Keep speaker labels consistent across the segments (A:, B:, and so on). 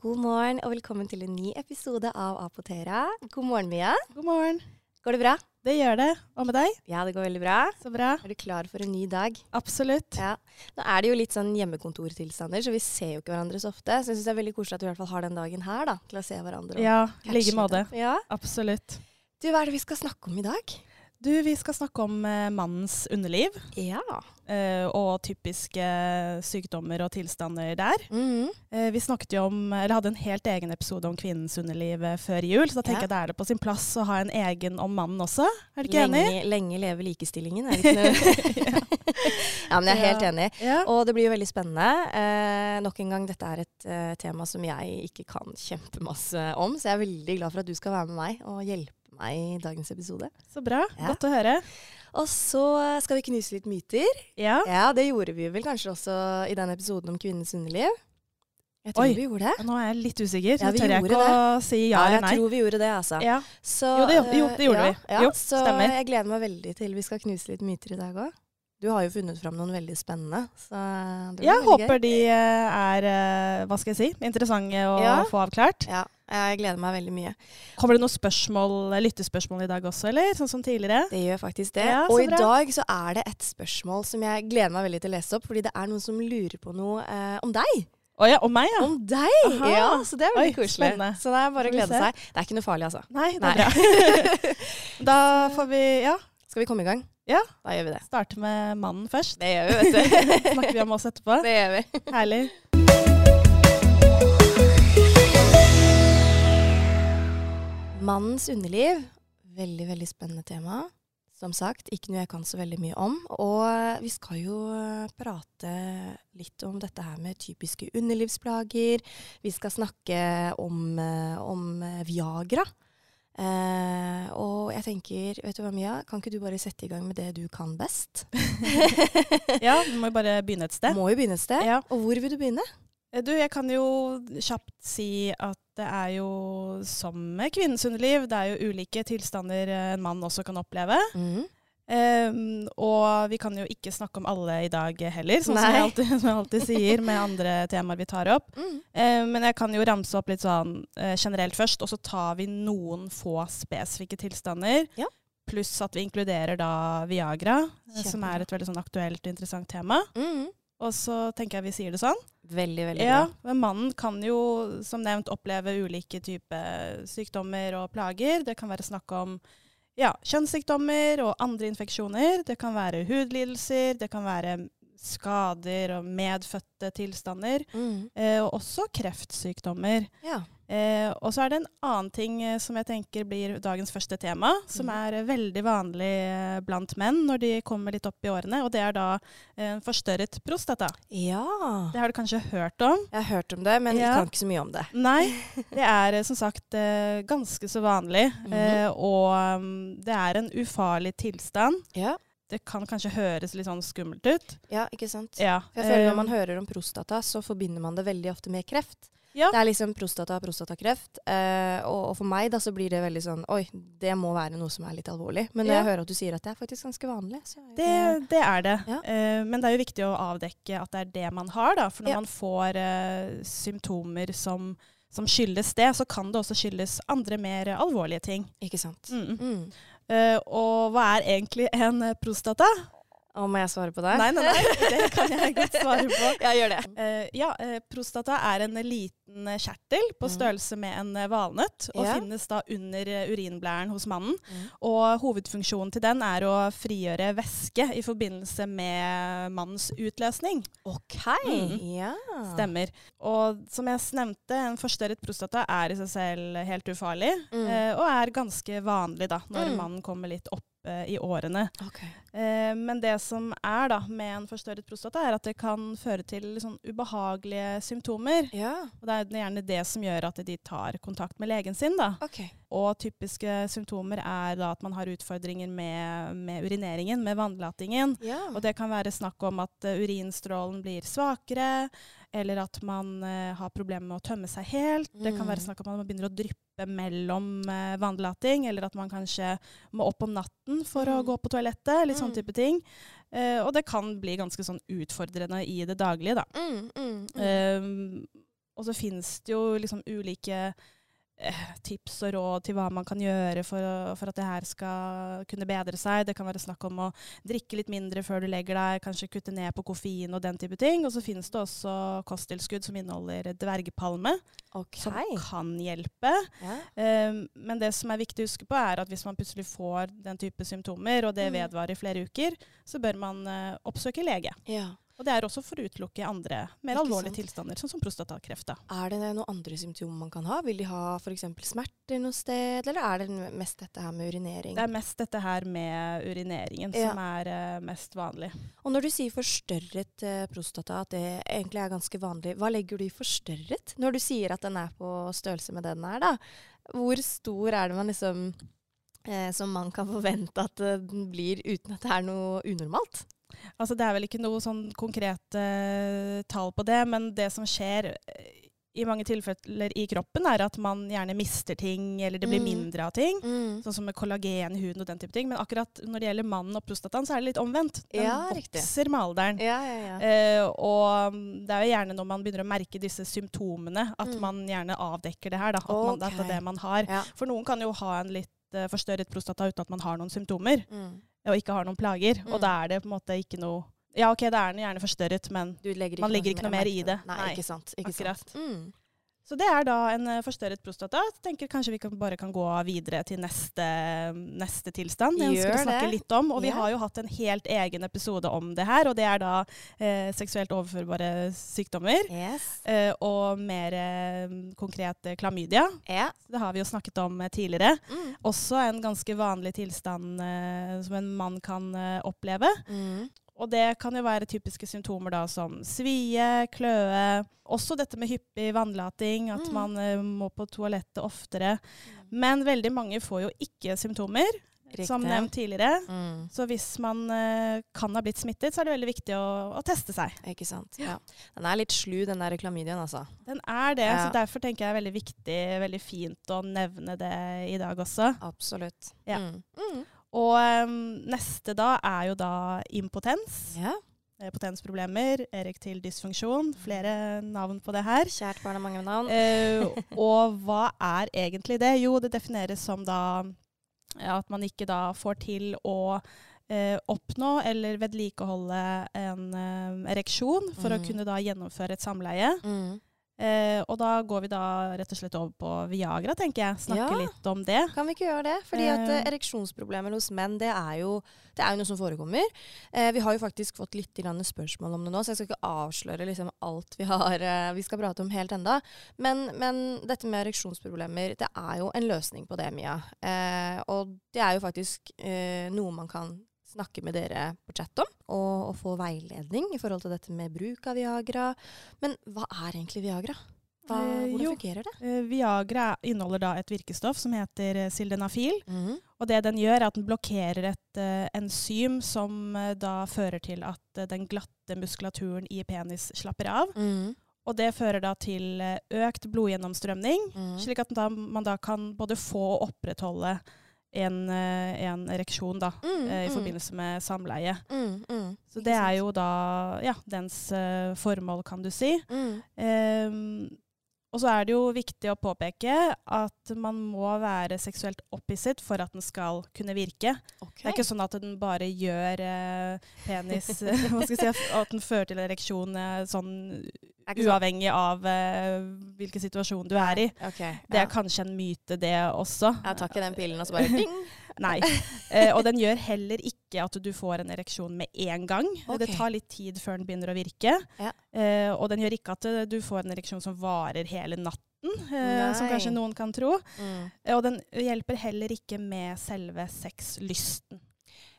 A: God morgen og velkommen til en ny episode av Apotera. God morgen, Mia.
B: God morgen.
A: Går det bra?
B: Det gjør det. Og med deg?
A: Ja, det går veldig bra.
B: Så bra.
A: Er du klar for en ny dag?
B: Absolutt.
A: Ja. Nå er det jo litt sånn hjemmekontortilstander, så vi ser jo ikke hverandre så ofte. Så jeg syns det er veldig koselig at vi i hvert fall har den dagen her, da, til å se hverandre. og
B: Ja, i
A: catche
B: like
A: litt
B: måte.
A: opp. Ja.
B: Absolutt.
A: Du, hva er det vi skal snakke om i dag?
B: Du, vi skal snakke om eh, mannens underliv
A: Ja.
B: eh, og typiske eh, sykdommer og tilstander der.
A: Mhm.
B: Eh, vi snakket jo om, eller hadde en helt egen episode om kvinnens underliv eh, før jul, så da tenker
A: Ja.
B: jeg da er det på sin plass å ha en egen om mannen også. Er du ikke
A: lenge,
B: enig?
A: Lenge leve likestillingen, er det ikke noe Ja, men jeg er helt
B: Ja.
A: enig.
B: Ja.
A: Og det blir jo veldig spennende. Eh, nok en gang, dette er et eh, tema som jeg ikke kan kjempemasse om, så jeg er veldig glad for at du skal være med meg og hjelpe meg i dagens episode.
B: Så bra.
A: Ja.
B: Godt å høre.
A: Og så eh, skal vi knuse litt myter.
B: Ja.
A: Ja, det gjorde vi vel kanskje også i den episoden om kvinnens underliv. Jeg tror
B: Oi.
A: vi gjorde det.
B: Nå er jeg litt usikker.
A: Ja,
B: så
A: vi
B: tør jeg
A: gjorde
B: ikke å si ja,
A: jeg
B: eller nei.
A: tror vi gjorde det, altså.
B: Ja.
A: Så,
B: Jo, det gjorde- jo,
A: eh,
B: det gjorde
A: ja,
B: vi.
A: Ja,
B: Jo,
A: så
B: stemmer.
A: jeg gleder meg veldig til vi skal knuse litt myter i dag òg. Du har jo funnet fram noen veldig spennende. Så det blir veldig
B: Jeg
A: gøy.
B: håper de eh, er eh, hva skal jeg si, interessante å
A: Ja.
B: få avklart.
A: Ja, jeg gleder meg veldig mye.
B: Kommer det noen spørsmål, eh, lyttespørsmål i dag også, eller? Sånn som tidligere?
A: Det gjør faktisk det.
B: Ja, så
A: og i
B: bra.
A: dag så er det et spørsmål som jeg gleder meg veldig til å lese opp, fordi det er noen som lurer på noe eh, om deg.
B: Å ja, og meg, ja.
A: Om deg!
B: Aha.
A: Ja, så det er veldig
B: Oi,
A: koselig.
B: spennende.
A: Så det er bare å
B: Får vi
A: glede
B: se.
A: seg. Det er ikke noe farlig, altså.
B: Nei, det
A: Nei.
B: er bra. da får vi ja,
A: Skal vi komme i gang?
B: Ja.
A: Da gjør vi det.
B: starte med mannen først.
A: Det gjør vi, vet du.
B: Snakker vi om oss etterpå.
A: det gjør vi.
B: Herlig.
A: Mannens underliv. Veldig, veldig spennende tema. Som sagt, ikke noe jeg kan så veldig mye om. Og vi skal jo eh, prate litt om dette her med typiske underlivsplager. Vi skal snakke om, eh, om eh, Viagra. Eh, og jeg tenker, vet du hva Mia, kan ikke du bare sette i gang med det du kan best?
B: Ja, vi må jo bare begynne et sted.
A: Må jo begynne et sted.
B: Ja.
A: Og hvor vil du begynne?
B: Eh, Du, jeg kan jo kjapt si at det er jo som med kvinnens underliv, det er jo ulike tilstander eh, en mann også kan oppleve.
A: Mm.
B: Ehm, og vi kan jo ikke snakke om alle i dag heller, sånn som
A: Nei.
B: jeg, alltid, som jeg alltid sier med andre temaer vi tar opp.
A: Mm.
B: Ehm, men jeg kan jo ramse opp litt sånn eh, generelt først, og så tar vi noen få spesifikke tilstander.
A: Ja.
B: Pluss at vi inkluderer da Viagra, eh, som
A: Kjempebra.
B: er et veldig sånn aktuelt og interessant tema.
A: Mm.
B: Og så tenker jeg vi sier det sånn.
A: Veldig, veldig
B: Ja,
A: bra.
B: men Mannen kan jo som nevnt oppleve ulike typer sykdommer og plager. Det kan være snakk om ja, kjønnssykdommer og andre infeksjoner. Det kan være hudlidelser, det kan være skader og medfødte tilstander.
A: Mm.
B: Eh, og også kreftsykdommer.
A: Ja.
B: Eh, og så er det en annen ting eh, som jeg tenker blir dagens første tema, som
A: Mhm.
B: er eh, veldig vanlig eh, blant menn når de kommer litt opp i årene, og det er da eh, forstørret prostata.
A: ja.
B: Det har du kanskje hørt om?
A: Jeg har hørt om det, men jeg
B: Ja.
A: kan ikke så mye om det.
B: Nei, det er eh, som sagt eh, ganske så vanlig.
A: Mhm.
B: eh, Og um, det er en ufarlig tilstand.
A: Ja,
B: Det kan kanskje høres litt sånn skummelt ut.
A: ikke sant?
B: Ja.
A: For jeg føler Når
B: eh,
A: man hører om prostata, så forbinder man det veldig ofte med kreft.
B: Ja.
A: Det er liksom prostata, prostatakreft. Eh, og, og for meg da så blir det veldig sånn Oi, det må være noe som er litt alvorlig. Men når
B: Ja.
A: jeg hører at du sier at det er faktisk ganske vanlig, så er
B: det, det er det.
A: Ja.
B: Eh, men det er jo viktig å avdekke at det er det man har. Da. For når
A: Ja.
B: man får eh, symptomer som, som skyldes det, så kan det også skyldes andre mer eh, alvorlige ting.
A: Ikke sant?
B: Mm.
A: Mm.
B: Eh, og hva er egentlig en eh, prostata?
A: Og må jeg svare på det?
B: Nei, nei, nei, det kan jeg godt svare på.
A: Ja, gjør det.
B: Eh, ja, eh, prostata er en liten eh, kjertel på
A: Mm.
B: størrelse med en eh, valnøtt, og
A: Ja.
B: finnes da under eh, urinblæren hos mannen.
A: Mm.
B: Og hovedfunksjonen til den er å frigjøre væske i forbindelse med mannens utløsning.
A: OK.
B: Mm.
A: Ja.
B: Stemmer. Og som jeg s- nevnte, en forstørret prostata er i seg selv helt ufarlig,
A: Mm.
B: eh, og er ganske vanlig da, når
A: Mm.
B: mannen kommer litt opp eh, i årene.
A: Ok.
B: Eh, men det som er da med en forstørret prostata, er at det kan føre til litt sånn ubehagelige symptomer.
A: Ja,
B: Og det er gjerne det som gjør at de tar kontakt med legen sin. Da.
A: OK.
B: Og typiske symptomer er da at man har utfordringer med, med urineringen, med vannlatingen.
A: Ja.
B: Og det kan være snakk om at eh, urinstrålen blir svakere, eller at man eh, har problemer med å tømme seg helt. Det kan være
A: Mm.
B: snakk om at man begynner å dryppe mellom eh, vannlating, eller at man kanskje må opp om natten for å
A: Mm.
B: gå på toalettet, litt sånne
A: Mm.
B: type ting. Eh, og det kan bli ganske sånn utfordrende i det daglige, da.
A: Mm, mm, mm.
B: Um, Og så finnes det jo liksom ulike eh, tips og råd til hva man kan gjøre for, å- for at det her skal kunne bedre seg. Det kan være snakk om å drikke litt mindre før du legger deg, kanskje kutte ned på koffein og den type ting. Og så finnes det også kosttilskudd som inneholder dvergpalme,
A: Ok.
B: som kan hjelpe.
A: Ja.
B: Um, men det som er viktig å huske på, er at hvis man plutselig får den type symptomer, og det
A: Mm.
B: vedvarer i flere uker, så bør man eh, oppsøke lege.
A: ja.
B: Og det er også for å utelukke andre mer
A: Ikke sant.
B: alvorlige tilstander, sånn som prostatakreft. da.
A: Er det noen andre symptomer man kan ha? Vil de ha f.eks. smerter noe sted, eller er det mest dette her med urinering?
B: Det er mest dette her med urineringen
A: Ja.
B: som er eh, mest vanlig.
A: Og når du sier forstørret eh, prostata, at det egentlig er ganske vanlig, hva legger du i forstørret? Når du sier at den er på størrelse med den her, da. Hvor stor er det man liksom eh, som man kan forvente at eh, den blir uten at det er noe unormalt?
B: Altså Det er vel ikke noe sånn konkret eh, tall på det, men det som skjer eh, i mange tilfeller i kroppen, er at man gjerne mister ting, eller det blir
A: Mm.
B: mindre av ting. Sånn som med kollagen i huden og den type ting. Men akkurat når det gjelder mannen og prostataen, så er det litt omvendt. Den
A: Ja, riktig.
B: vokser med alderen.
A: Ja, ja, ja.
B: Eh, og mm, det er jo gjerne når man begynner å merke disse symptomene, at
A: Mm.
B: man gjerne avdekker det her. Da, at man, at det
A: Ok.
B: er det man har.
A: Ja.
B: For noen kan jo ha en litt eh, forstørret prostata uten at man har noen symptomer,
A: Mm.
B: og ikke har noen plager.
A: Mm.
B: Og da er det på en måte ikke noe Ja, OK, da er den gjerne forstørret, men
A: Du legger
B: Man legger ikke noe mer i
A: merke til
B: det.
A: Nei,
B: Nei,
A: ikke sant. Ikke
B: akkurat.
A: Sant. Mm.
B: Så det er da en eh, forstørret prostata. Jeg tenker kanskje vi kan, bare kan gå videre til neste, mm, neste tilstand. Den
A: Gjør
B: skal vi
A: det.
B: snakke litt om. Og vi
A: Ja.
B: har jo hatt en helt egen episode om det her, og det er da eh, seksuelt overførbare sykdommer.
A: Yes.
B: eh, og mer eh, konkret eh, klamydia.
A: Ja.
B: Det har vi jo snakket om eh, tidligere.
A: Mm.
B: Også en ganske vanlig tilstand eh, som en mann kan eh, oppleve.
A: Mm.
B: Og det kan jo være typiske symptomer da, som svie, kløe. Også dette med hyppig vannlating, at
A: Mm.
B: man eh, må på toalettet oftere. Men veldig mange får jo ikke symptomer, som
A: Riktig.
B: nevnt tidligere.
A: Mm.
B: Så hvis man eh, kan ha blitt smittet, så er det veldig viktig å, å teste seg.
A: Ikke sant. Ja. Den er litt slu, den der klamydiaen, altså.
B: Den er det,
A: Ja.
B: så derfor tenker jeg det er veldig viktig, veldig fint å nevne det i dag også.
A: Absolutt.
B: Ja.
A: Mm. Mm.
B: Og eh, neste da er jo da impotens.
A: ja.
B: eh, Potensproblemer, erektil dysfunksjon, flere navn på det her.
A: Kjært barn har mange navn.
B: Eh, og hva er egentlig det? Jo, det defineres som da ja, at man ikke da får til å eh, oppnå eller vedlikeholde en eh, ereksjon for å
A: Mm.
B: kunne da gjennomføre et samleie.
A: Mm.
B: Eh, og da går vi da rett og slett over på Viagra, tenker jeg. Snakke
A: Ja.
B: litt om det.
A: Kan vi ikke gjøre det? Fordi at eh,
B: Eh.
A: ereksjonsproblemer hos menn, det er jo, det er jo noe som forekommer. Eh, vi har jo faktisk fått litt grann spørsmål om det nå, så jeg skal ikke avsløre liksom alt vi, har, eh, vi skal prate om helt enda. Men, men dette med ereksjonsproblemer, det er jo en løsning på det, Mia. Eh, og det er jo faktisk eh, noe man kan snakke med dere på chat om, og, og få veiledning i forhold til dette med bruk av Viagra. Men hva er egentlig Viagra? Hva,
B: Eh,
A: hvordan
B: jo.
A: fungerer det?
B: Eh, Viagra inneholder da et virkestoff som heter eh, sildenafil. Og det den gjør, er at den blokkerer et eh, enzym som eh, da fører til at eh, den glatte muskulaturen i penis slapper av.
A: Mm.
B: Og det fører da til eh, økt blodgjennomstrømning,
A: Mm.
B: slik at da, man da kan både få og opprettholde en, eh, en ereksjon da,
A: Mm,
B: eh, i
A: mm.
B: forbindelse med samleie.
A: Mm, mm.
B: Så
A: Ikke
B: det
A: sant?
B: er jo da ja, dens eh, formål, kan du si.
A: Mm.
B: Ehm, og så er det jo viktig å påpeke at man må være seksuelt opphisset for at den skal kunne virke. Det er ikke sånn at den bare gjør eh, penis hva skal jeg si, at- At den fører til ereksjon eh, sånn
A: Det er ikke sånn-
B: uavhengig av eh, hvilken situasjon du er i.
A: Ok,
B: Det
A: ja.
B: er kanskje en myte, det også.
A: Jeg tar ikke den pillen og så bare ding.
B: Nei. Eh, og den gjør heller ikke at du får en ereksjon med en gang.
A: Ok.
B: Det tar litt tid før den begynner å virke.
A: Ja.
B: Eh, og den gjør ikke at eh, du får en ereksjon som varer hele natten, eh, som
A: Nei.
B: kanskje noen kan tro.
A: Mm.
B: Eh, og den hjelper heller ikke med selve sexlysten.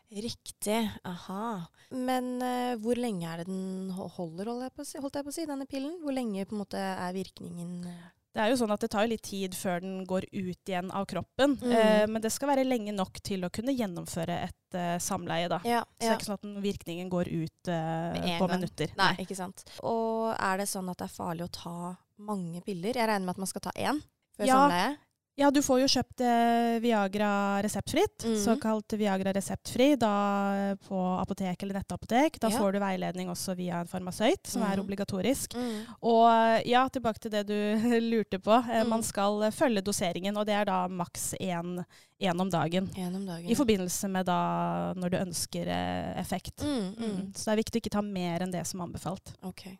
A: Riktig. Aha. Men eh, hvor lenge er det den ho- holder, holdt jeg, på å si, holdt jeg på å si, denne pillen? Hvor lenge på en måte er virkningen eh?
B: Det er jo sånn at det tar jo litt tid før den går ut igjen av kroppen,
A: Mm.
B: eh, men det skal være lenge nok til å kunne gjennomføre et eh, samleie. da.
A: Ja.
B: Så det er ikke sånn at den virkningen går ut eh,
A: Med en
B: på
A: gang.
B: minutter.
A: Nei, ikke sant. Og er det sånn at det er farlig å ta mange piller? Jeg regner med at man skal ta én før
B: Ja.
A: samleie?
B: Ja, du får jo kjøpt eh, Viagra reseptfritt,
A: Mhm.
B: såkalt Viagra reseptfri, da eh, på apotek eller nettapotek. Da
A: Ja.
B: får du veiledning også via en farmasøyt, som er
A: Mhm.
B: obligatorisk.
A: Mm.
B: Og eh, ja, tilbake til det du lurte på. Eh,
A: Mhm.
B: Man skal eh, følge doseringen, og det er da maks én én om dagen.
A: En om dagen.
B: I forbindelse med da når du ønsker eh, effekt.
A: mm, mm.
B: Mm. Så det er viktig å ikke ta mer enn det som anbefalt.
A: Ok.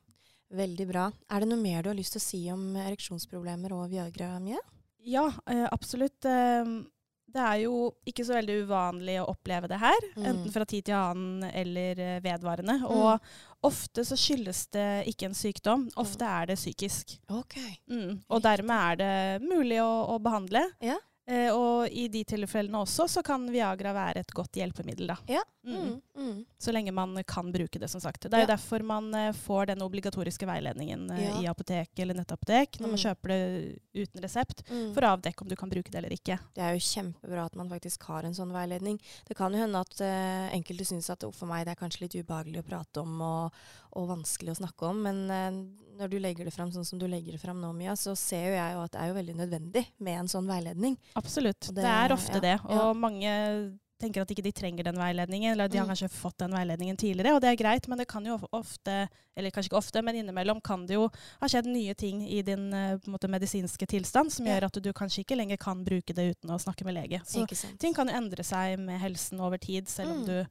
A: Veldig bra. Er det noe mer du har lyst til å si om ereksjonsproblemer og Viagra, Mie?
B: Ja, eh, absolutt. Eh, Det er jo ikke så veldig uvanlig å oppleve det her,
A: Mm.
B: enten fra tid til annen eller eh, vedvarende. Og ofte så skyldes det ikke en sykdom, ofte er det psykisk.
A: Mm. Ok.
B: Mm. Og dermed er det mulig å, å behandle.
A: Ja.
B: Eh, og i de tilfellene også så kan Viagra være et godt hjelpemiddel, da.
A: Ja.
B: Mm.
A: Mm. Mm.
B: Så lenge man kan bruke det, som sagt. Det er jo
A: Ja.
B: derfor man eh, får den obligatoriske veiledningen eh,
A: Ja.
B: i apotek eller nettapotek når man
A: Mm.
B: kjøper det uten resept,
A: Mm.
B: for å avdekke om du kan bruke det eller ikke.
A: Det er jo kjempebra at man faktisk har en sånn veiledning. Det kan jo hende at eh, enkelte syns at «Å, for meg det er kanskje litt ubehagelig å prate om og, og vanskelig å snakke om, men eh, når du legger det fram sånn som du legger det fram nå, Mia, så ser jo jeg jo at det er jo veldig nødvendig med en sånn veiledning.
B: Absolutt.
A: Og
B: Det,
A: det-
B: er
A: ja,
B: ofte det. Og
A: ja.
B: mange tenker at ikke de trenger den veiledningen, eller de har
A: Mm.
B: kanskje fått den veiledningen tidligere, og det er greit, men det kan jo of- ofte, eller kanskje ikke ofte, men innimellom kan det jo ha skjedd nye ting i din eh, på en måte, medisinske tilstand som
A: Ja.
B: gjør at du kanskje ikke lenger kan bruke det uten å snakke med lege. Så
A: Ikke sant?
B: ting kan jo endre seg med helsen over tid, selv
A: Mm.
B: om du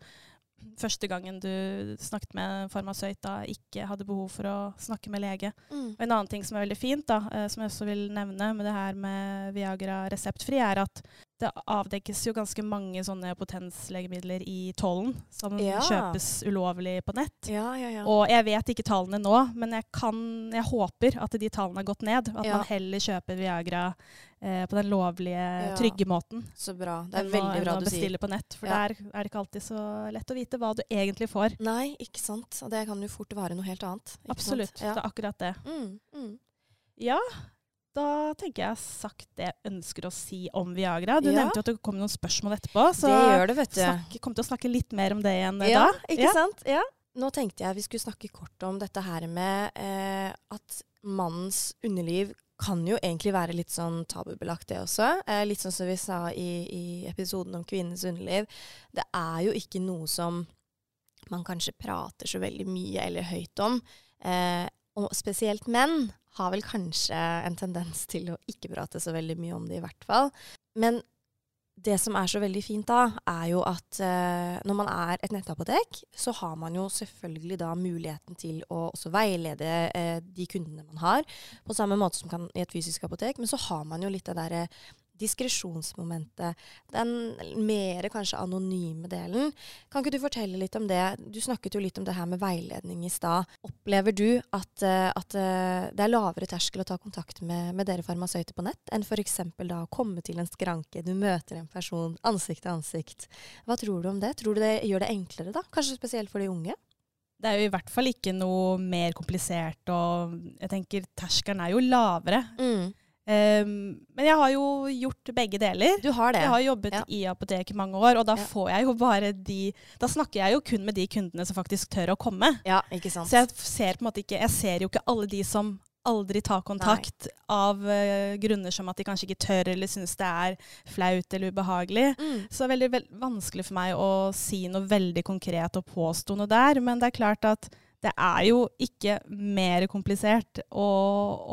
B: første gangen du snakket med en farmasøyt da ikke hadde behov for å snakke med lege.
A: Mm.
B: Og en annen ting som er veldig fint, da, eh, som jeg også vil nevne med det her med Viagra reseptfri, er at det avdekkes jo ganske mange sånne potenslegemidler i tollen som
A: Ja.
B: kjøpes ulovlig på nett.
A: Ja, ja, ja.
B: Og jeg vet ikke tallene nå, men jeg, kan, jeg håper at de tallene har gått ned. og At
A: Ja.
B: man heller kjøper Viagra eh, på den lovlige,
A: Ja.
B: trygge måten.
A: Så bra. Det er
B: enn å-
A: veldig bra
B: enn å
A: du sier.
B: bestille på nett, for
A: Ja.
B: der er det ikke alltid så lett å vite hva du egentlig får.
A: Nei, ikke sant. Og det kan jo fort være noe helt annet. Ikke Sant?
B: Absolutt. Det
A: Ja.
B: er akkurat det.
A: Mm, mm.
B: Ja, da tenker jeg jeg har sagt det jeg ønsker å si om Viagra. Du
A: Ja.
B: nevnte jo at det kom noen spørsmål etterpå, så
A: Det gjør det, vet du.
B: snakk, kom til å snakke litt mer om det igjen eh,
A: ja,
B: da.
A: ikke
B: Ja.
A: sant? Ja. Nå tenkte jeg vi skulle snakke kort om dette her med eh, at mannens underliv kan jo egentlig være litt sånn tabubelagt, det også. Eh, litt sånn som vi sa i, i episoden om kvinnens underliv. Det er jo ikke noe som man kanskje prater så veldig mye eller høyt om. Eh, og spesielt menn har vel kanskje en tendens til å ikke prate så veldig mye om det, i hvert fall. Men det som er så veldig fint da, er jo at eh, når man er et nettapotek, så har man jo selvfølgelig da muligheten til å også veilede eh, de kundene man har, på samme måte som kan i et fysisk apotek. Men så har man jo litt det derre diskresjonsmomentet. Den mer kanskje anonyme delen. Kan ikke du fortelle litt om det? Du snakket jo litt om det her med veiledning i stad. Opplever du at, eh, at eh, det er lavere terskel å ta kontakt med, med dere farmasøyter på nett, enn f.eks. da å komme til en skranke, du møter en person ansikt til ansikt. Hva tror du om det? Tror du det gjør det enklere, da? Kanskje spesielt for de unge?
B: Det er jo i hvert fall ikke noe mer komplisert, og jeg tenker terskelen er jo lavere. Ehm, men jeg har jo gjort begge deler.
A: Du har det.
B: Jeg har jobbet
A: Ja.
B: i apotek i mange år, og da
A: Ja.
B: får jeg jo bare de Da snakker jeg jo kun med de kundene som faktisk tør å komme.
A: Ja, ikke sant.
B: Så jeg ser på en måte ikke Jeg ser jo ikke alle de som aldri tar kontakt av eh, grunner som at de kanskje ikke tør eller syns det er flaut eller ubehagelig.
A: Mm.
B: Så det er veldig vel- vanskelig for meg å si noe veldig konkret og påstå noe der. Men det er klart at det er jo ikke mer komplisert å,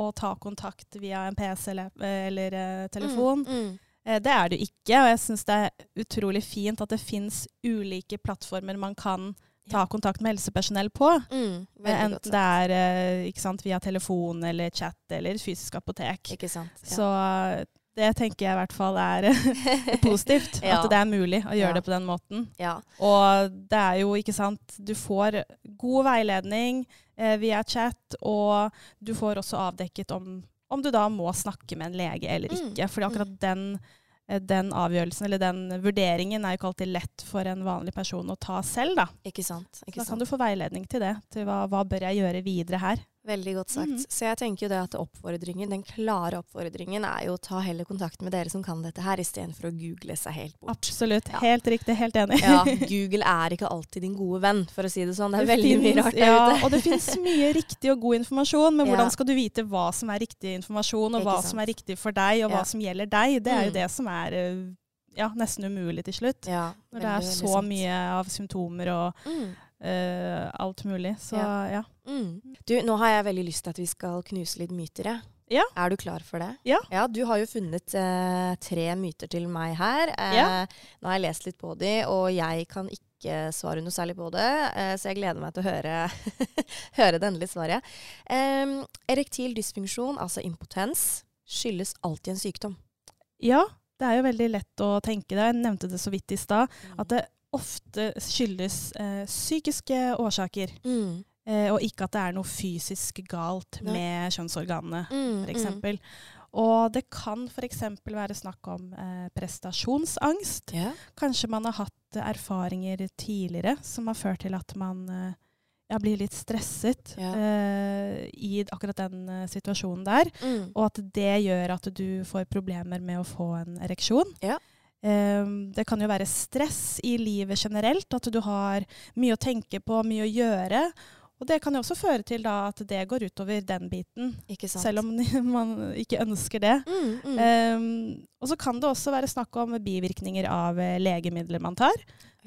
B: å ta kontakt via en PC eller, eller eh, telefon.
A: Mm. Mm.
B: Eh, Det er det jo ikke, og jeg syns det er utrolig fint at det fins ulike plattformer man kan ta kontakt med helsepersonell på.
A: Mm. Veldig
B: Eh,
A: godt
B: Enten det er eh, ikke sant, via telefon eller chat eller fysisk apotek.
A: Ikke sant. Ja.
B: Så eh, det tenker jeg i hvert fall er eh, positivt.
A: Ja.
B: At det er mulig å gjøre
A: Ja.
B: det på den måten.
A: ja.
B: Og det er jo, ikke sant, du får god veiledning eh, via chat, og du får også avdekket om, om du da må snakke med en lege eller
A: Mm.
B: ikke. Fordi akkurat
A: Mm.
B: den, eh, den avgjørelsen eller den vurderingen er jo ikke alltid lett for en vanlig person å ta selv, da.
A: Ikke sant. Ikke
B: Da kan
A: sant.
B: du få veiledning til det. Til hva, hva bør jeg gjøre videre her?
A: Veldig godt sagt.
B: Mhm.
A: Så jeg tenker jo det at oppfordringen, den klare oppfordringen er jo å ta heller kontakt med dere som kan dette her, istedenfor å google seg helt bort.
B: Absolutt.
A: Ja.
B: Helt riktig. Helt enig.
A: Ja, Google er ikke alltid din gode venn, for å si det sånn. Det er veldig mye
B: finnes-
A: rart der
B: ja,
A: ute.
B: Og det finnes mye riktig og god informasjon, men
A: Ja.
B: hvordan skal du vite hva som er riktig informasjon, og
A: Ikke
B: hva
A: sant.
B: som er riktig for deg, og
A: Ja.
B: hva som gjelder deg? Det er
A: Mm.
B: jo det som er eh, ja, nesten umulig til slutt.
A: Ja,
B: Når det er
A: veldig, veldig
B: så
A: sant.
B: mye av symptomer og
A: Mm.
B: eh, alt mulig. Så ja.
A: Ja. Mm. Du, nå har jeg veldig lyst til at vi skal knuse litt myter, jeg.
B: Ja.
A: Er du klar for det?
B: Ja.
A: Du har jo funnet eh, tre myter til meg her. Eh,
B: Ja.
A: Nå har jeg lest litt på de, og jeg kan ikke svare noe særlig på det, eh, så jeg gleder meg til å høre, høre det endelige svaret. Em, erektil dysfunksjon, altså impotens, skyldes alltid en sykdom.
B: ja, det er jo veldig lett å tenke det. Jeg nevnte det så vidt i stad.
A: Mm.
B: At det ofte skyldes eh, psykiske årsaker,
A: mm.
B: eh, og ikke at det er noe fysisk galt
A: Nei.
B: med kjønnsorganene.
A: Mm,
B: for eksempel. Og det kan f.eks. være snakk om eh, prestasjonsangst.
A: Mm. Ja.
B: Kanskje man har hatt eh, erfaringer tidligere som har ført til at man eh, ja, blir litt stresset
A: Ja.
B: eh, i akkurat den eh, situasjonen der.
A: Mm.
B: Og at det gjør at du får problemer med å få en ereksjon.
A: Ja.
B: Eh, det kan jo være stress i livet generelt, at du har mye å tenke på, mye å gjøre. Og det kan jo også føre til da, at det går utover den biten.
A: Ikke sant.
B: Selv om man ikke ønsker det.
A: mm, mm.
B: Ehm, og så kan det også være snakk om bivirkninger av eh, legemidler man tar.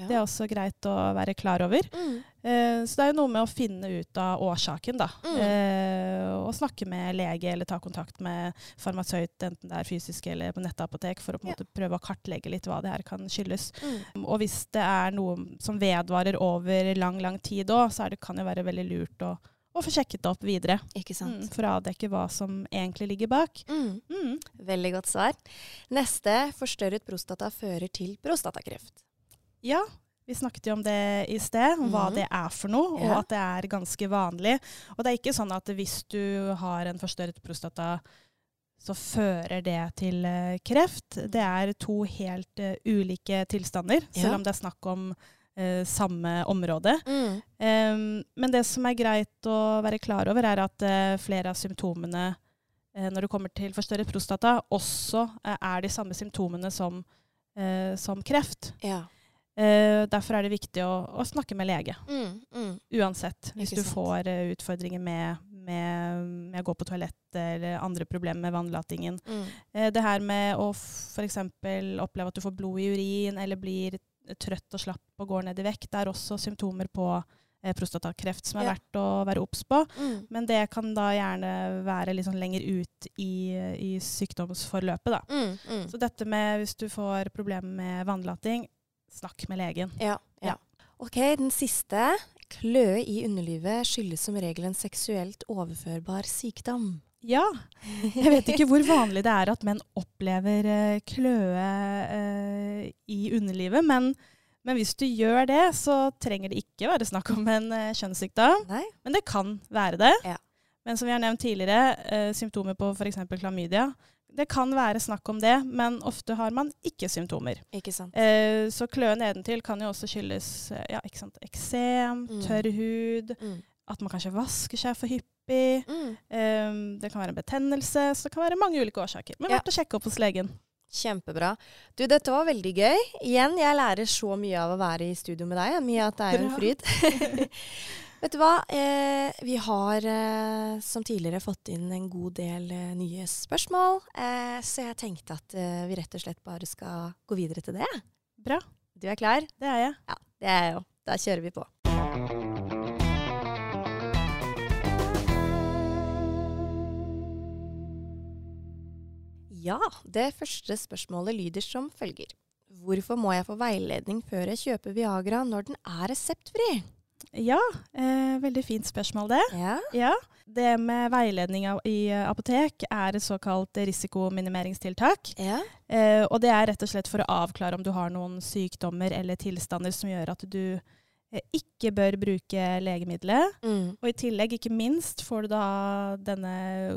A: Ja.
B: Det er også greit å være klar over.
A: Mm.
B: Eh, så det er jo noe med å finne ut av årsaken, da.
A: Mm.
B: Eh, og snakke med lege eller ta kontakt med farmasøyt, enten det er fysisk eller på nettapotek, for å på en
A: Ja.
B: måte prøve å kartlegge litt hva det her kan skyldes.
A: Mm.
B: Og hvis det er noe som vedvarer over lang, lang tid òg, så er det, kan det jo være veldig lurt å, å få sjekket det opp videre.
A: Ikke sant.
B: Mm, for å avdekke hva som egentlig ligger bak.
A: Mm.
B: Mm.
A: Veldig godt svar. Neste forstørret prostata fører til prostatakreft.
B: Ja, vi snakket jo om det i sted, om hva
A: Mhm.
B: det er for noe, og
A: Ja.
B: at det er ganske vanlig. Og det er ikke sånn at hvis du har en forstørret prostata, så fører det til eh, kreft. Det er to helt eh, ulike tilstander,
A: Ja.
B: selv om det er snakk om eh, samme område.
A: Mm.
B: Ehm, men det som er greit å være klar over, er at eh, flere av symptomene eh, når det kommer til forstørret prostata, også eh, er de samme symptomene som, eh, som kreft.
A: Ja.
B: Eh, derfor er det viktig å, å snakke med lege,
A: Mm, mm.
B: uansett. Hvis
A: Ikke
B: du
A: sant.
B: får eh, utfordringer med, med, med å gå på toalettet eller andre problemer med vannlatingen.
A: Mm.
B: Eh, det her med å f.eks. oppleve at du får blod i urin eller blir trøtt og slapp og går ned i vekt, det er også symptomer på eh, prostatakreft som er
A: Ja.
B: verdt å være obs på.
A: Mm.
B: Men det kan da gjerne være litt sånn lenger ut i, i sykdomsforløpet, da.
A: Mm. Mm.
B: Så dette med hvis du får problemer med vannlating, snakk med legen.
A: Ja, ja.
B: Ja.
A: Ok, den siste. Kløe i underlivet skyldes som regel en seksuelt overførbar sykdom.
B: Ja. Jeg vet ikke hvor vanlig det er at menn opplever eh, kløe eh, i underlivet, men, men hvis du gjør det, så trenger det ikke være snakk om en eh, kjønnssykdom.
A: Nei?
B: Men det kan være det.
A: Ja.
B: Men som vi har nevnt tidligere, eh, symptomer på f.eks. klamydia. Det kan være snakk om det, men ofte har man ikke symptomer.
A: Ikke sant?
B: Eh, så kløe nedentil kan jo også skyldes eh, ja, ikke sant, eksem,
A: Mm.
B: tørr hud,
A: Mm.
B: at man kanskje vasker seg for hyppig.
A: Mm.
B: Ehm, det kan være en betennelse, så det kan være mange ulike årsaker. Men
A: Ja.
B: verdt å sjekke opp hos legen.
A: Kjempebra. Du, dette var veldig gøy. Igjen, jeg lærer så mye av å være i studio med deg. Mye at det er en
B: Bra.
A: fryd. Vet du hva? Eh, vi har eh, som tidligere fått inn en god del eh, nye spørsmål, eh, så jeg tenkte at eh, vi rett og slett bare skal gå videre til det.
B: Bra,
A: Du er klar?
B: det er jeg.
A: Det er jeg jo. Da kjører vi på. Ja, det første spørsmålet lyder som følger. Hvorfor må jeg få veiledning før jeg kjøper Viagra når den er reseptfri?
B: Ja, eh, veldig fint spørsmål det.
A: Ja.
B: Ja. Det med veiledning av, i eh, apotek er et såkalt risikominimeringstiltak.
A: Ja.
B: Eh, og det er rett og slett for å avklare om du har noen sykdommer eller tilstander som gjør at du eh, ikke bør bruke legemiddelet.
A: Mm.
B: Og i tillegg, ikke minst, får du da denne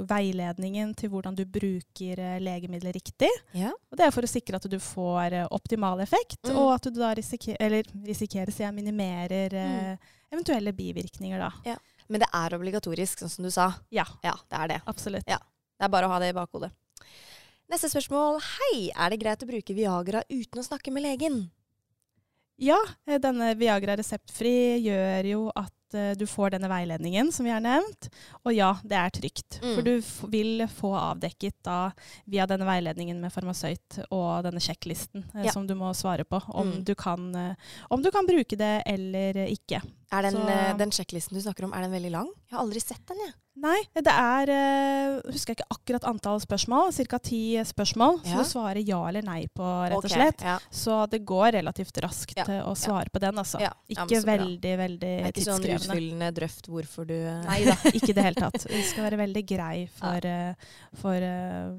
B: veiledningen til hvordan du bruker eh, legemidler riktig.
A: ja.
B: Og det er for å sikre at du får eh, optimal effekt,
A: Mm.
B: og at du da risikerer, eller risikerer, sier jeg, minimerer eh, eventuelle bivirkninger da.
A: Ja. Men det er obligatorisk, sånn som du sa.
B: Ja.
A: Ja, det er det.
B: Absolutt.
A: Det er bare å ha det i bakhodet. Neste spørsmål. Hei, er det greit å bruke Viagra uten å snakke med legen?
B: Ja, eh, denne Viagra reseptfri gjør jo at eh, du får denne veiledningen som vi har nevnt. Og ja, det er trygt.
A: Mm.
B: For du f vil få avdekket da via denne veiledningen med farmasøyt og denne sjekklisten eh,
A: Ja.
B: som du må svare på om,
A: Mm.
B: du kan, eh, om du kan bruke det eller eh, ikke.
A: Er den,
B: Så-
A: eh, den sjekklisten du snakker om, er den veldig lang? Jeg har aldri sett den, jeg.
B: Nei, det er eh, Husker jeg ikke akkurat antall spørsmål, ca. ti spørsmål.
A: Ja.
B: Så du svarer ja eller nei på, rett og
A: Ok,
B: slett.
A: Ja.
B: Så det går relativt raskt
A: Ja,
B: eh, å svare på den, altså.
A: Ja, ja, men
B: Ikke
A: så bra.
B: veldig, veldig
A: Det er ikke sånn
B: tidskrevende.
A: utfyllende drøft hvorfor du eh,
B: Nei da, ikke i det hele tatt. Det skal være veldig grei for, eh, for eh,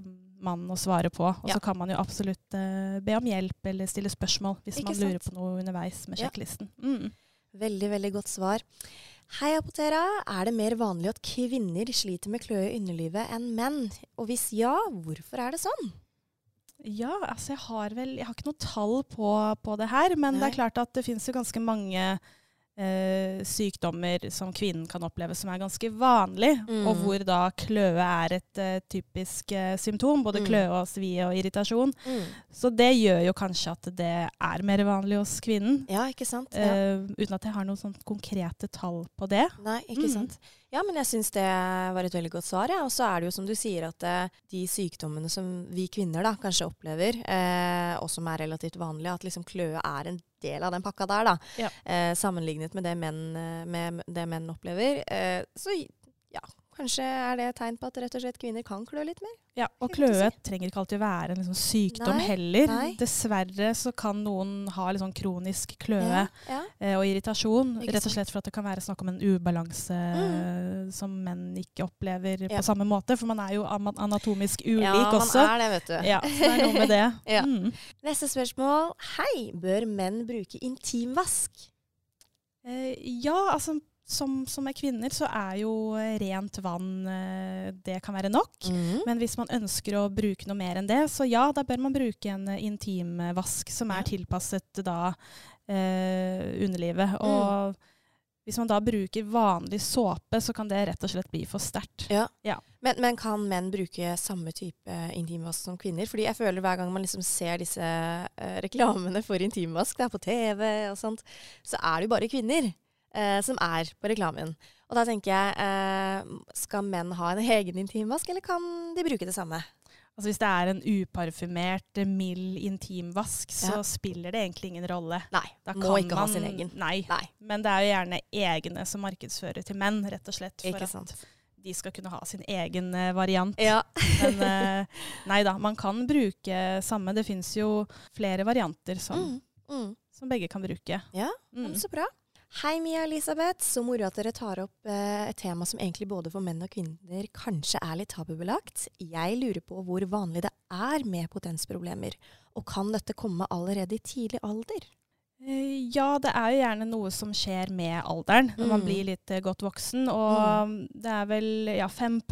B: mannen å svare på. Og
A: Ja.
B: så kan man jo absolutt eh, be om hjelp eller stille spørsmål hvis
A: Ikke
B: man lurer
A: sant?
B: på noe underveis med
A: Ja.
B: sjekklisten. Mm.
A: Veldig, veldig godt svar. Hei, Apotera. Er det mer vanlig at kvinner sliter med kløe i underlivet enn menn? Og hvis ja, hvorfor er det sånn?
B: Ja, altså jeg har vel Jeg har ikke noe tall på, på det her, men det
A: Nei.
B: er klart at det fins jo ganske mange eh, sykdommer som kvinnen kan oppleve som er ganske vanlig,
A: Mm.
B: og hvor da kløe er et eh, typisk eh, symptom. Både
A: Mm.
B: kløe og svie og irritasjon. Så det gjør jo kanskje at det er mer vanlig hos kvinnen.
A: Ja, ikke sant? Ja.
B: eh, uten at jeg har noen sånn konkrete tall på det.
A: Nei, ikke
B: Mm.
A: sant. Ja, men jeg syns det var et veldig godt svar. Ja. Og så er det jo som du sier at eh, de sykdommene som vi kvinner da kanskje opplever, eh, og som er relativt vanlige, at liksom kløe er en del av den pakka der, da.
B: Ja.
A: Eh, sammenlignet med det menn, eh, med det menn opplever. Eh, så ja, kanskje er det et tegn på at rett og slett kvinner kan klø litt mer.
B: Ja, og
A: Helt å
B: kløe trenger ikke alltid være en liksom sykdom
A: Nei,
B: heller.
A: nei.
B: Dessverre så kan noen ha litt sånn kronisk kløe.
A: Ja,
B: eh, og irritasjon.
A: Ikke
B: Rett
A: sant.
B: og
A: Mm.
B: slett for at det kan være snakk om en ubalanse eh, som menn ikke opplever
A: Ja.
B: på samme måte. For man er jo ama- anatomisk ulik
A: ja man
B: også.
A: er det, vet du.
B: Ja, så det er noe med det.
A: Ja.
B: Mm.
A: Neste spørsmål. Hei, bør menn bruke intimvask?
B: Eh, ja, altså som, som er kvinner så er jo eh, rent vann eh, Det kan være nok.
A: Mm.
B: Men hvis man ønsker å bruke noe mer enn det, så ja, da bør man bruke en eh, intimvask som
A: Ja.
B: er tilpasset da eh,
A: Mm.
B: underlivet. Og hvis man da bruker vanlig såpe, så kan det rett og slett bli for sterkt.
A: Men, men kan menn bruke samme type intimvask som kvinner? Fordi jeg føler hver gang man liksom ser disse eh, reklamene for intimvask, det er på TV og sånt, så er det jo bare kvinner eh, som er på reklamen. Og da tenker jeg, eh, skal menn ha en egen intimvask, eller kan de bruke det samme?
B: Altså Hvis det er en uparfymert, eh, mild intimvask, så
A: Ja.
B: spiller det egentlig ingen rolle.
A: Nei,
B: Da
A: må
B: kan
A: ikke ha
B: man-
A: sin egen.
B: Nei.
A: Nei,
B: Men det er jo gjerne egne som markedsfører til menn, rett og slett. For
A: ikke
B: at
A: sant.
B: de skal kunne ha sin egen eh, variant.
A: Ja,
B: Men eh, nei da, man kan bruke samme. Det fins jo flere varianter som,
A: mm, mm.
B: som begge kan
A: Ja,
B: bruke.
A: Ja,
B: Mm.
A: men Så bra. Hei, Mia Elisabeth. Så moro at dere tar opp eh, et tema som egentlig både for menn og kvinner kanskje er litt tabubelagt. Jeg lurer på hvor vanlig det er med potensproblemer, og kan dette komme allerede i tidlig alder?
B: Eh, Ja, det er jo gjerne noe som skjer med alderen, når man
A: Mm.
B: blir litt eh, godt voksen. Og det er vel ja, 5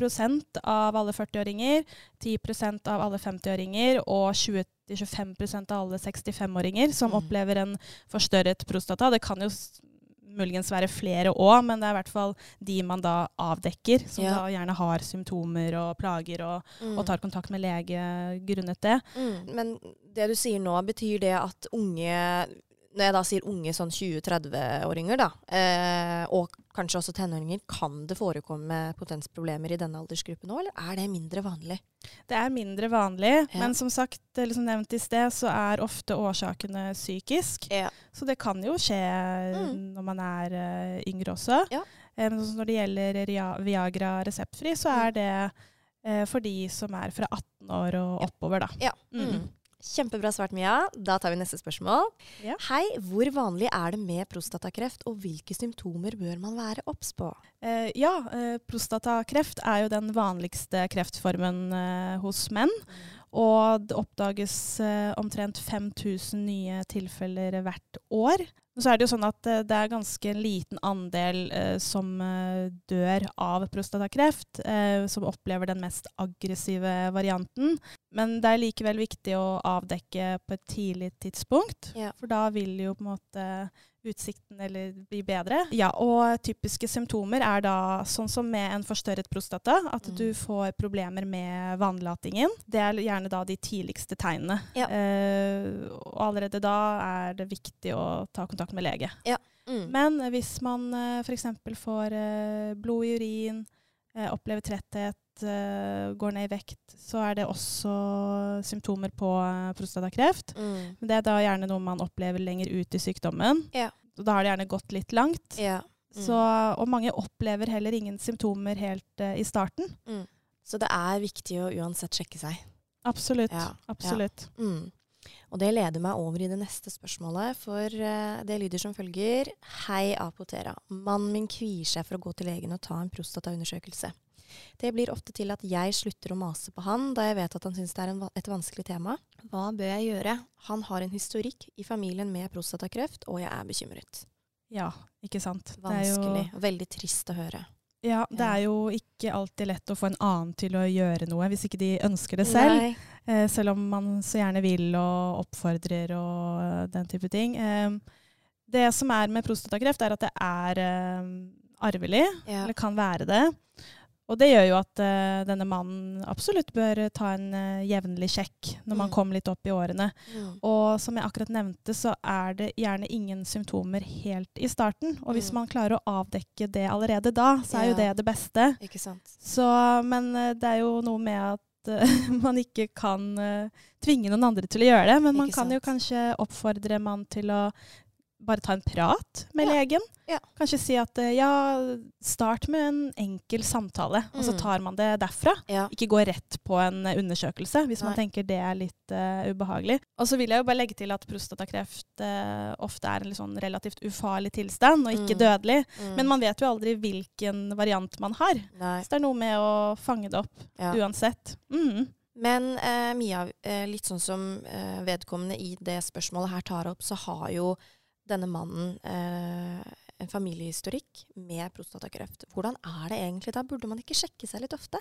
B: av alle 40-åringer, 10 av alle 50-åringer og 20-25 av alle 65-åringer som
A: Mm.
B: opplever en forstørret prostata. Det kan jo s- muligens være flere òg, men det er i hvert fall de man da avdekker, som
A: Ja.
B: da gjerne har symptomer og plager og, og tar kontakt med lege grunnet det.
A: Mm. Men det du sier nå, betyr det at unge når jeg da sier unge sånn 20-30-åringer, da, eh, og kanskje også tenåringer, kan det forekomme potensproblemer i denne aldersgruppen òg, eller er det mindre vanlig?
B: Det er mindre vanlig,
A: Ja.
B: men som sagt, eller som nevnt i sted, så er ofte årsakene psykisk.
A: Ja.
B: Så det kan jo skje
A: Mm.
B: når man er eh, yngre også.
A: Ja.
B: Eh, men sånn som når det gjelder Ria- Viagra reseptfri, så
A: Mm.
B: er det eh, for de som er fra 18 år og
A: Ja.
B: oppover, da.
A: Ja.
B: Mm.
A: Mm. Kjempebra svart, Mia. Da tar vi neste spørsmål.
B: Ja.
A: Hei, hvor vanlig er det med prostatakreft, og hvilke symptomer bør man være obs på?
B: Eh, ja, eh, prostatakreft er jo den vanligste kreftformen eh, hos menn. Og det oppdages eh, omtrent 5000 nye tilfeller hvert år. Men Så er det jo sånn at eh, det er ganske en liten andel eh, som eh, dør av prostatakreft, eh, som opplever den mest aggressive varianten. Men det er likevel viktig å avdekke på et tidlig tidspunkt,
A: Ja.
B: for da vil jo på en måte utsikten eller bli bedre. Ja, og typiske symptomer er da sånn som med en forstørret prostata, at
A: Mm.
B: du får problemer med vannlatingen. Det er gjerne da de tidligste tegnene.
A: Ja.
B: Eh, og allerede da er det viktig å ta kontakt med lege.
A: Mm.
B: Men hvis man f.eks. får eh, blod i urin, eh, opplever tretthet, eh, går ned i vekt, så er det også symptomer på eh, prostatakreft.
A: Mm.
B: Men Det er da gjerne noe man opplever lenger ut i sykdommen.
A: Ja.
B: Og Da har det gjerne gått litt langt.
A: Ja. Mm.
B: Så, og mange opplever heller ingen symptomer helt eh, i starten.
A: Så det er viktig å uansett sjekke seg.
B: Absolutt.
A: Ja,
B: Absolutt.
A: Mm. Og det leder meg over i det neste spørsmålet, for eh, det lyder som følger. Hei, Apotera. Mannen min kvier seg for å gå til legen og ta en prostataundersøkelse. Det blir ofte til at jeg slutter å mase på han, da jeg vet at han syns det er en, va- et vanskelig tema. Hva bør jeg gjøre? Han har en historikk i familien med prostatakreft, og jeg er bekymret.
B: Ja, ikke sant.
A: Vanskelig.
B: Det er jo,
A: Veldig trist å høre.
B: ja, det
A: Ja.
B: er jo ikke alltid lett å få en annen til å gjøre noe hvis ikke de ønsker det selv.
A: Nei.
B: Eh, selv om man så gjerne vil og oppfordrer og eh, den type ting. Eh, det som er med prostatakreft, er at det er eh, arvelig.
A: Ja.
B: Eller kan være det. Og det gjør jo at eh, denne mannen absolutt bør eh, ta en eh, jevnlig sjekk når
A: Mm.
B: man kommer litt opp i årene.
A: Mm.
B: Og som jeg akkurat nevnte, så er det gjerne ingen symptomer helt i starten. Og hvis
A: Mm.
B: man klarer å avdekke det allerede da, så er jo det
A: Ja.
B: det beste.
A: Ikke sant.
B: Så, men eh, det er jo noe med at eh, man ikke kan eh, tvinge noen andre til å gjøre det, men man
A: Ikke
B: kan jo kanskje oppfordre man til å bare ta en prat med
A: Ja.
B: legen.
A: Ja.
B: Kanskje si at eh, ja, start med en enkel samtale, og så
A: Mm.
B: tar man det derfra.
A: Ja.
B: Ikke gå rett på en eh, undersøkelse hvis man
A: Nei.
B: tenker det er litt eh, ubehagelig. Og så vil jeg jo bare legge til at prostatakreft eh, ofte er en litt sånn relativt ufarlig tilstand, og ikke
A: Mm.
B: dødelig.
A: Mm.
B: Men man vet jo aldri hvilken variant man har.
A: Nei.
B: Så det er noe med å fange det opp
A: Ja.
B: uansett. Mm.
A: Men eh, Mia, eh, litt sånn som eh, vedkommende i det spørsmålet her tar opp, så har jo denne mannen eh, en familiehistorikk med prostatakreft. Hvordan er det egentlig da? Burde man ikke sjekke seg litt ofte?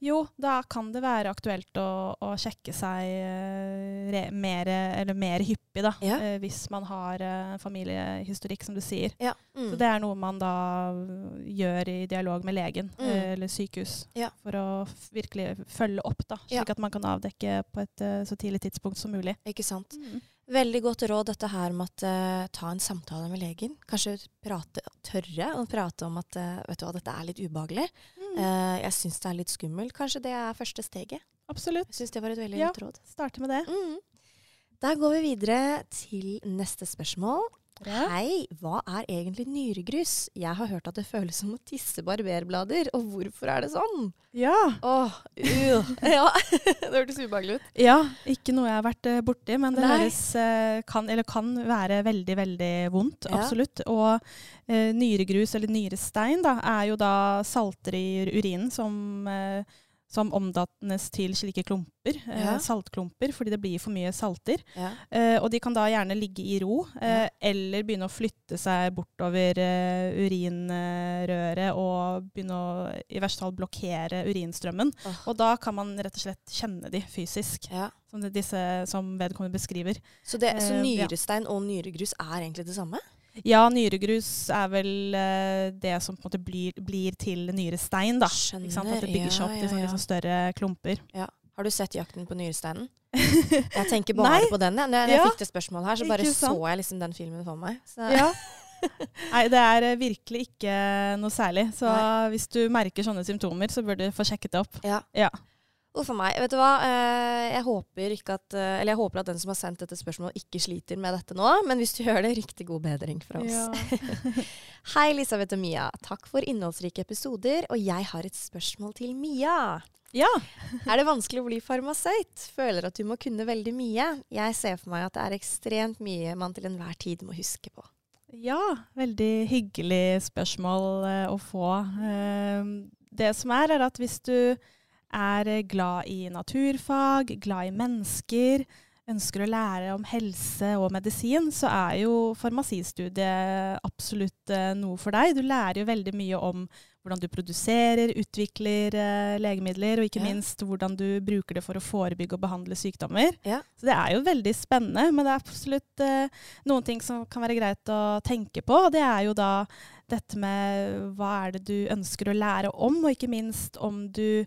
B: Jo, da kan det være aktuelt å, å sjekke seg eh, re, mer, eller mer hyppig, da,
A: Ja.
B: eh, hvis man har eh, familiehistorikk, som du sier.
A: Ja. Mm.
B: Så det er noe man da eh, gjør i dialog med legen
A: Mm.
B: eh, eller sykehus,
A: Ja.
B: for å f- virkelig følge opp, da,
A: Ja.
B: slik at man kan avdekke på et eh, så tidlig tidspunkt som mulig.
A: Ikke sant. Veldig godt råd dette her med at eh, ta en samtale med legen. Kanskje prate, tørre å prate om at eh, vet du hva, dette er litt ubehagelig.
B: Mm.
A: Eh, jeg syns det er litt skummelt. Kanskje det er første steget.
B: Absolutt.
A: Jeg syns det var et veldig
B: Ja.
A: godt råd.
B: Starte med det.
A: Mm. Da går vi videre til neste spørsmål. Hei, hva er egentlig nyregrus? Jeg har hørt at det føles som å tisse barberblader, og hvorfor er det sånn?
B: Ja.
A: Åh, uh. ja, det hørtes ubehagelig ut.
B: Ja, ikke noe jeg har vært eh, borti, men det
A: Nei.
B: høres, eh, kan, eller kan være veldig, veldig vondt.
A: Ja.
B: Absolutt. Og eh, nyregrus, eller nyrestein, da, er jo da salter i ur- urinen som, eh, som omdannes til slike klumper. eh,
A: Ja.
B: saltklumper, fordi det blir for mye salter.
A: Ja.
B: Eh, og de kan da gjerne ligge i ro, eh, eller begynne å flytte seg bortover eh, urinrøret og begynne å i verste fall blokkere urinstrømmen.
A: Åh.
B: Og da kan man rett og slett kjenne de fysisk,
A: Ja.
B: som, det, disse, som vedkommende beskriver.
A: Så, det, så
B: Eh, ja.
A: nyrestein og nyregrus er egentlig det samme?
B: Ja, nyregrus er vel eh, det som på en måte blir, blir til nyrestein, da.
A: Skjønner.
B: Ikke sant? At det bygger seg opp til sånne liksom større klumper.
A: Har du sett Jakten på nyresteinen? Jeg tenker bare
B: Nei.
A: på den. jeg. Når jeg
B: Ja.
A: fikk det spørsmålet her, så bare
B: Ikke
A: så
B: sant?
A: jeg liksom den filmen for meg. Så,
B: Ja. Nei, det er eh, virkelig ikke noe særlig. Så hvis du merker sånne symptomer, så bør du få sjekket det opp.
A: Ja.
B: Ja.
A: Uff a meg. Vet du hva? Eh, Jeg håper, ikke at, eh, eller jeg håper at den som har sendt dette spørsmålet, ikke sliter med dette nå. Men hvis du gjør det, riktig god bedring fra oss. Hei, Elisabeth og Mia. Takk for innholdsrike episoder. Og jeg har et spørsmål til Mia.
B: Ja.
A: Er det vanskelig å bli farmasøyt? Føler at du må kunne veldig mye. Jeg ser for meg at det er ekstremt mye man til enhver tid må huske på.
B: ja, veldig hyggelig spørsmål eh, å få. Eh, det som er, er at hvis du er eh, glad i naturfag, glad i mennesker, ønsker å lære om helse og medisin, så er jo farmasistudiet absolutt eh, noe for deg. Du lærer jo veldig mye om hvordan du produserer, utvikler eh, legemidler, og ikke
A: Ja.
B: minst hvordan du bruker det for å forebygge og behandle sykdommer.
A: Ja.
B: Så det er jo veldig spennende, men det er absolutt eh, noen ting som kan være greit å tenke på. og Det er jo da dette med hva er det du ønsker å lære om, og ikke minst om du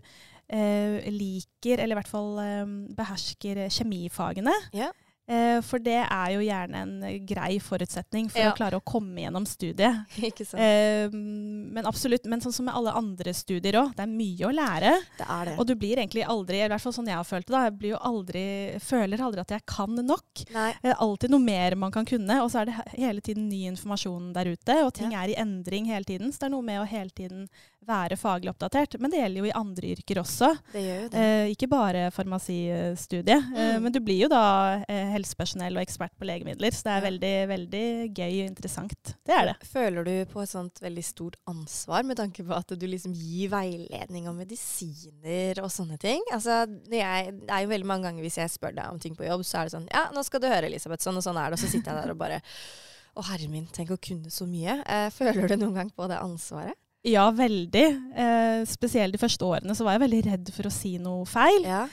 B: eh, liker, eller i hvert fall eh, behersker eh, kjemifagene.
A: Ja.
B: Eh, for det er jo gjerne en eh, grei forutsetning for
A: Ja.
B: å klare å komme gjennom studiet.
A: Ikke sant.
B: Eh, men absolutt, men sånn som med alle andre studier òg, det er mye å lære.
A: Det er det.
B: Eh, Og du blir egentlig aldri, i hvert fall sånn jeg har følt det, da, jeg blir jo aldri, føler aldri at jeg kan nok.
A: Nei,
B: Det er Eh, alltid noe mer man kan kunne, og så er det he- hele tiden ny informasjon der ute. Og ting er i endring hele tiden, så det er noe med å hele tiden være faglig oppdatert. Men det gjelder jo i andre yrker også.
A: det gjør jo det.
B: Eh, ikke bare farmasistudiet. Eh,
A: Mm.
B: men du blir jo da eh, helsepersonell og ekspert på legemidler, så det er
A: Ja.
B: veldig, veldig gøy og interessant. Det er det.
A: Føler du på et sånt veldig stort ansvar med tanke på at du liksom gir veiledning om medisiner og sånne ting? Altså, det er, det er jo veldig mange ganger hvis jeg spør deg om ting på jobb, så er det sånn Ja, nå skal du høre, Elisabeth, sånn og sånn er det. Og så sitter jeg der og bare Å, herre min, tenk å kunne så mye. Eh, føler du noen gang på det ansvaret?
B: Ja, veldig. Eh, spesielt de første årene så var jeg veldig redd for å si noe feil.
A: Ja.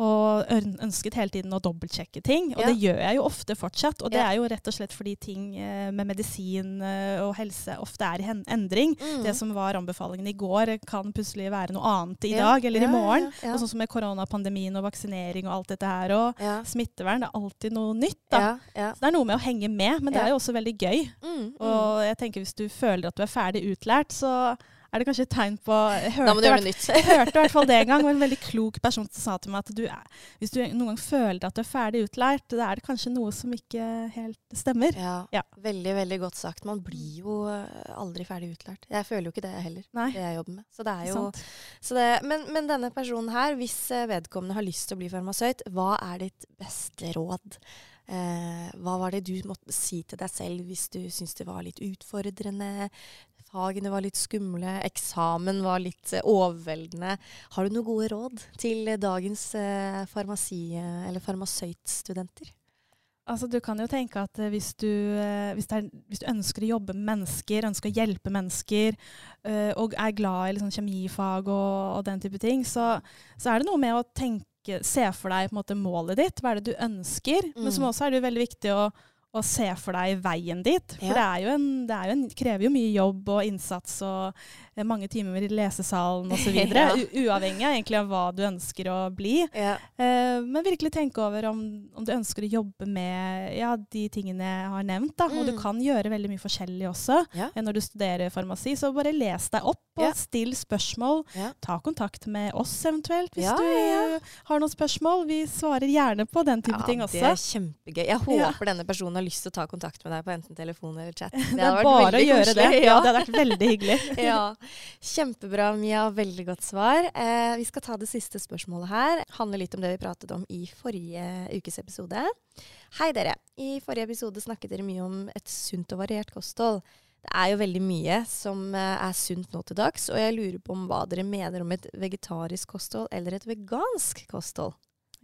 B: Og øn- ønsket hele tiden å dobbeltsjekke ting. Og
A: Ja.
B: det gjør jeg jo ofte fortsatt. Og det
A: Ja.
B: er jo rett og slett fordi ting eh, med medisin eh, og helse ofte er i hen- endring.
A: Mm.
B: Det som var anbefalingen i går, eh, kan plutselig være noe annet i
A: Ja.
B: dag eller
A: Ja,
B: i
A: ja,
B: morgen.
A: Ja,
B: Og sånn som med koronapandemien og vaksinering og alt dette her. Og
A: ja.
B: smittevern, det er alltid noe nytt, da.
A: Ja, ja.
B: Så det er noe med å henge med, men det
A: Ja.
B: er jo også veldig gøy.
A: Mm, mm.
B: Og jeg tenker hvis du føler at du er ferdig utlært, så er det kanskje et tegn på jeg hørte
A: Da må du
B: i
A: gjøre
B: hvert-
A: noe nytt.
B: Jeg hørte i hvert fall det en gang, og en veldig klok person som sa til meg at du er, hvis du noen gang føler at du er ferdig utlært, da er det kanskje noe som ikke helt stemmer.
A: Ja.
B: Ja.
A: Veldig, veldig godt sagt. Man blir jo eh, aldri ferdig utlært. Jeg føler jo ikke det heller,
B: Nei,
A: det jeg jobber med. Så det er jo,
B: sant?
A: så det, men, men denne personen her, hvis eh, vedkommende har lyst til å bli farmasøyt, hva er ditt beste råd? Eh, hva var det du måtte si til deg selv hvis du syntes det var litt utfordrende? Fagene var litt skumle, eksamen var litt eh, overveldende. Har du noen gode råd til eh, dagens eh, farmasi- eller farmasøytstudenter?
B: Altså, du kan jo tenke at eh, hvis du, eh, hvis, det er, hvis du ønsker å jobbe med mennesker, ønsker å hjelpe mennesker, eh, og er glad i liksom, kjemifag og, og den type ting, så, så er det noe med å tenke, se for deg på en måte, målet ditt. Hva er det du ønsker? Men som
A: Mm.
B: også er det jo veldig viktig å, å se for deg veien dit. For
A: Ja.
B: det, er jo en, det er jo en, krever jo mye jobb og innsats og eh, mange timer i lesesalen osv.
A: Ja.
B: videre, u- Uavhengig av egentlig av hva du ønsker å bli.
A: Ja.
B: Eh, men virkelig tenke over om, om du ønsker å jobbe med ja, de tingene jeg har nevnt. Da. Og du
A: Mm.
B: kan gjøre veldig mye forskjellig også
A: Ja.
B: eh, når du studerer farmasi. Så bare les deg opp og
A: Ja.
B: still spørsmål.
A: Ja.
B: Ta kontakt med oss eventuelt hvis
A: Ja,
B: du eh,
A: ja,
B: har noen spørsmål. Vi svarer gjerne på den type ting
A: Det
B: også.
A: er kjempegøy. Jeg håper
B: Ja.
A: denne personen har lyst til å ta kontakt med deg på enten telefon eller chat. Det,
B: Det
A: hadde
B: er
A: vært
B: bare å
A: veldig
B: gjøre det.
A: koselig.
B: Ja,
A: Ja.
B: det hadde vært veldig hyggelig.
A: ja. Kjempebra, Mia. Veldig godt svar. Eh, vi skal ta det siste spørsmålet her. Handler litt om det vi pratet om i forrige ukes episode. Hei, dere. I forrige episode snakket dere mye om et sunt og variert kosthold. Det er jo veldig mye som eh, er sunt nå til dags, og jeg lurer på om hva dere mener om et vegetarisk kosthold eller et vegansk kosthold.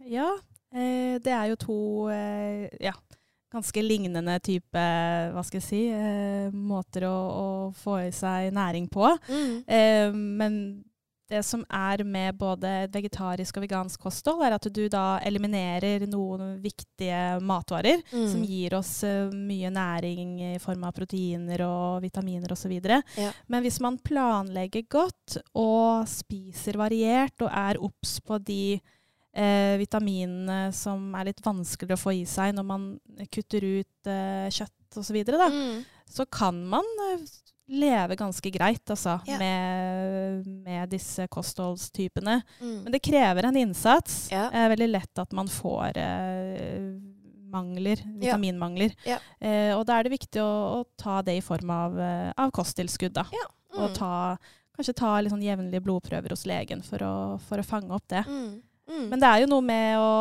B: Ja, eh, det er jo to eh, ja, ganske lignende type, hva skal jeg si, eh, måter å, å få i seg næring på.
A: Mm,
B: Eh, men det som er med både et vegetarisk og vegansk kosthold, er at du da eliminerer noen viktige matvarer
A: Mm.
B: som gir oss eh, mye næring i form av proteiner og vitaminer osv.
A: Ja.
B: Men hvis man planlegger godt og spiser variert og er obs på de eh, vitaminene som er litt vanskeligere å få i seg når man kutter ut eh, kjøtt osv., da,
A: Mm.
B: så kan man eh, leve ganske greit altså,
A: Ja.
B: med, med disse kostholdstypene.
A: Mm.
B: Men det krever en innsats.
A: Ja.
B: Det er veldig lett at man får eh, mangler,
A: Ja.
B: vitaminmangler.
A: Ja.
B: Eh, og da er det viktig å, å ta det i form av, eh, av kosttilskudd. Da.
A: Mm.
B: Og ta, kanskje ta litt sånn jevnlige blodprøver hos legen for å, for å fange opp det.
A: Mm. Mm.
B: Men det er jo noe med å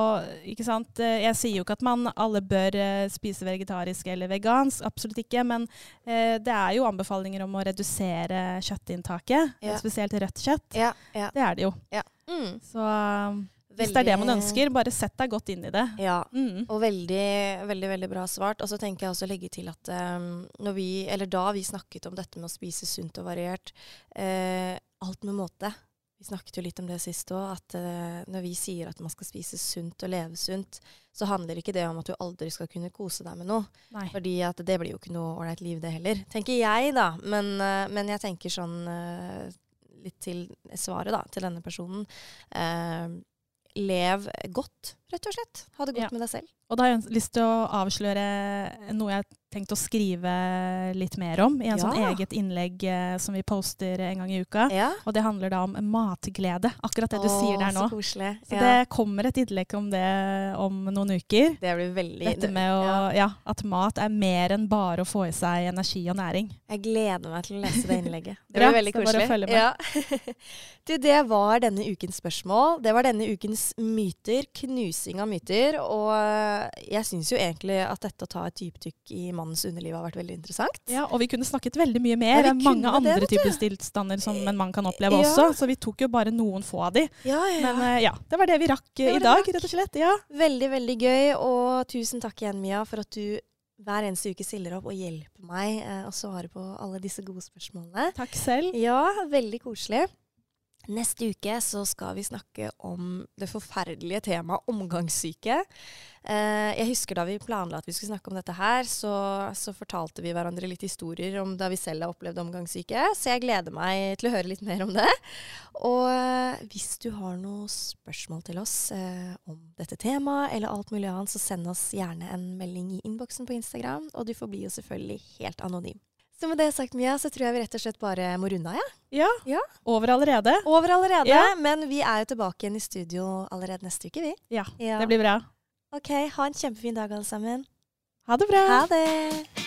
B: ikke sant? eh, Jeg sier jo ikke at man alle bør eh, spise vegetarisk eller vegansk, absolutt ikke. Men eh, det er jo anbefalinger om å redusere kjøttinntaket,
A: Ja.
B: spesielt rødt kjøtt.
A: ja, ja,
B: Det er det jo.
A: ja. Mm.
B: Så eh, Hvis det er det man ønsker, bare sett deg godt inn i det.
A: eh, Ja,
B: Mm.
A: og veldig, veldig, veldig bra svart. Og så tenker jeg også å legge til at eh, når vi, eller da vi snakket om dette med å spise sunt og variert, eh, alt med måte. Vi snakket jo litt om det sist òg, at eh, når vi sier at man skal spise sunt og leve sunt, så handler ikke det om at du aldri skal kunne kose deg med noe.
B: Nei.
A: Fordi at det blir jo ikke noe ålreit liv det heller, tenker jeg da. Men, eh, men jeg tenker sånn eh, litt til svaret da, til denne personen. Eh, lev godt, rett og slett. Ha det godt
B: Ja.
A: med deg selv.
B: Og da har jeg øns- lyst til å avsløre noe jeg har tenkt å skrive litt mer om i en sånn
A: Ja.
B: eget innlegg eh, som vi poster en gang i uka.
A: Ja.
B: Og det handler da om matglede. Akkurat det du sier der nå.
A: Så koselig.
B: Så
A: ja. det,
B: det kommer et innlegg om det om noen uker.
A: blir veldig
B: Dette med å,
A: ja.
B: ja, at mat er mer enn bare å få i seg energi og næring.
A: Jeg gleder meg til å lese det innlegget. Det
B: Bra,
A: blir veldig
B: så bare
A: koselig.
B: følg med.
A: Ja. du, det var denne ukens spørsmål. Det var denne ukens myter. Knusing av myter. Og eh, jeg syns jo egentlig at dette å ta et dypdykk i mannens underliv har vært veldig interessant.
B: Ja, og vi kunne snakket veldig mye mer.
A: vi
B: Det er mange
A: kunne det,
B: andre
A: vet
B: typer tilstander som en mann kan oppleve
A: Ja.
B: også, så vi tok jo bare noen få av de.
A: Ja, ja, ja.
B: Men eh, ja, det var det vi rakk
A: Det
B: eh,
A: var
B: i
A: det
B: dag,
A: vi rakk.
B: rett og slett. Ja.
A: eh, Veldig, veldig gøy. Og tusen takk igjen, Mia, for at du hver eneste uke stiller opp og hjelper meg eh, å svare på alle disse gode spørsmålene.
B: Takk selv.
A: Ja, veldig koselig. Neste uke så skal vi snakke om det forferdelige temaet omgangssyke. Eh, jeg husker da vi planla at vi skulle snakke om dette her, så, så fortalte vi hverandre litt historier om da vi selv har opplevd omgangssyke. Så jeg gleder meg til å høre litt mer om det. Og eh, hvis du har noen spørsmål til oss eh, om dette temaet eller alt mulig annet, så send oss gjerne en melding i innboksen på Instagram. Og du forblir jo selvfølgelig helt anonym. Så med det sagt, Mia, så tror jeg vi rett og slett bare må runde av, ja.
B: Ja.
A: Ja.
B: Over allerede.
A: Over allerede.
B: Ja.
A: Men vi er jo tilbake igjen i studio allerede neste uke, vi.
B: Ja,
A: Ja.
B: det blir bra.
A: OK, ha en kjempefin dag, alle sammen.
B: Ha det bra.
A: Ha det!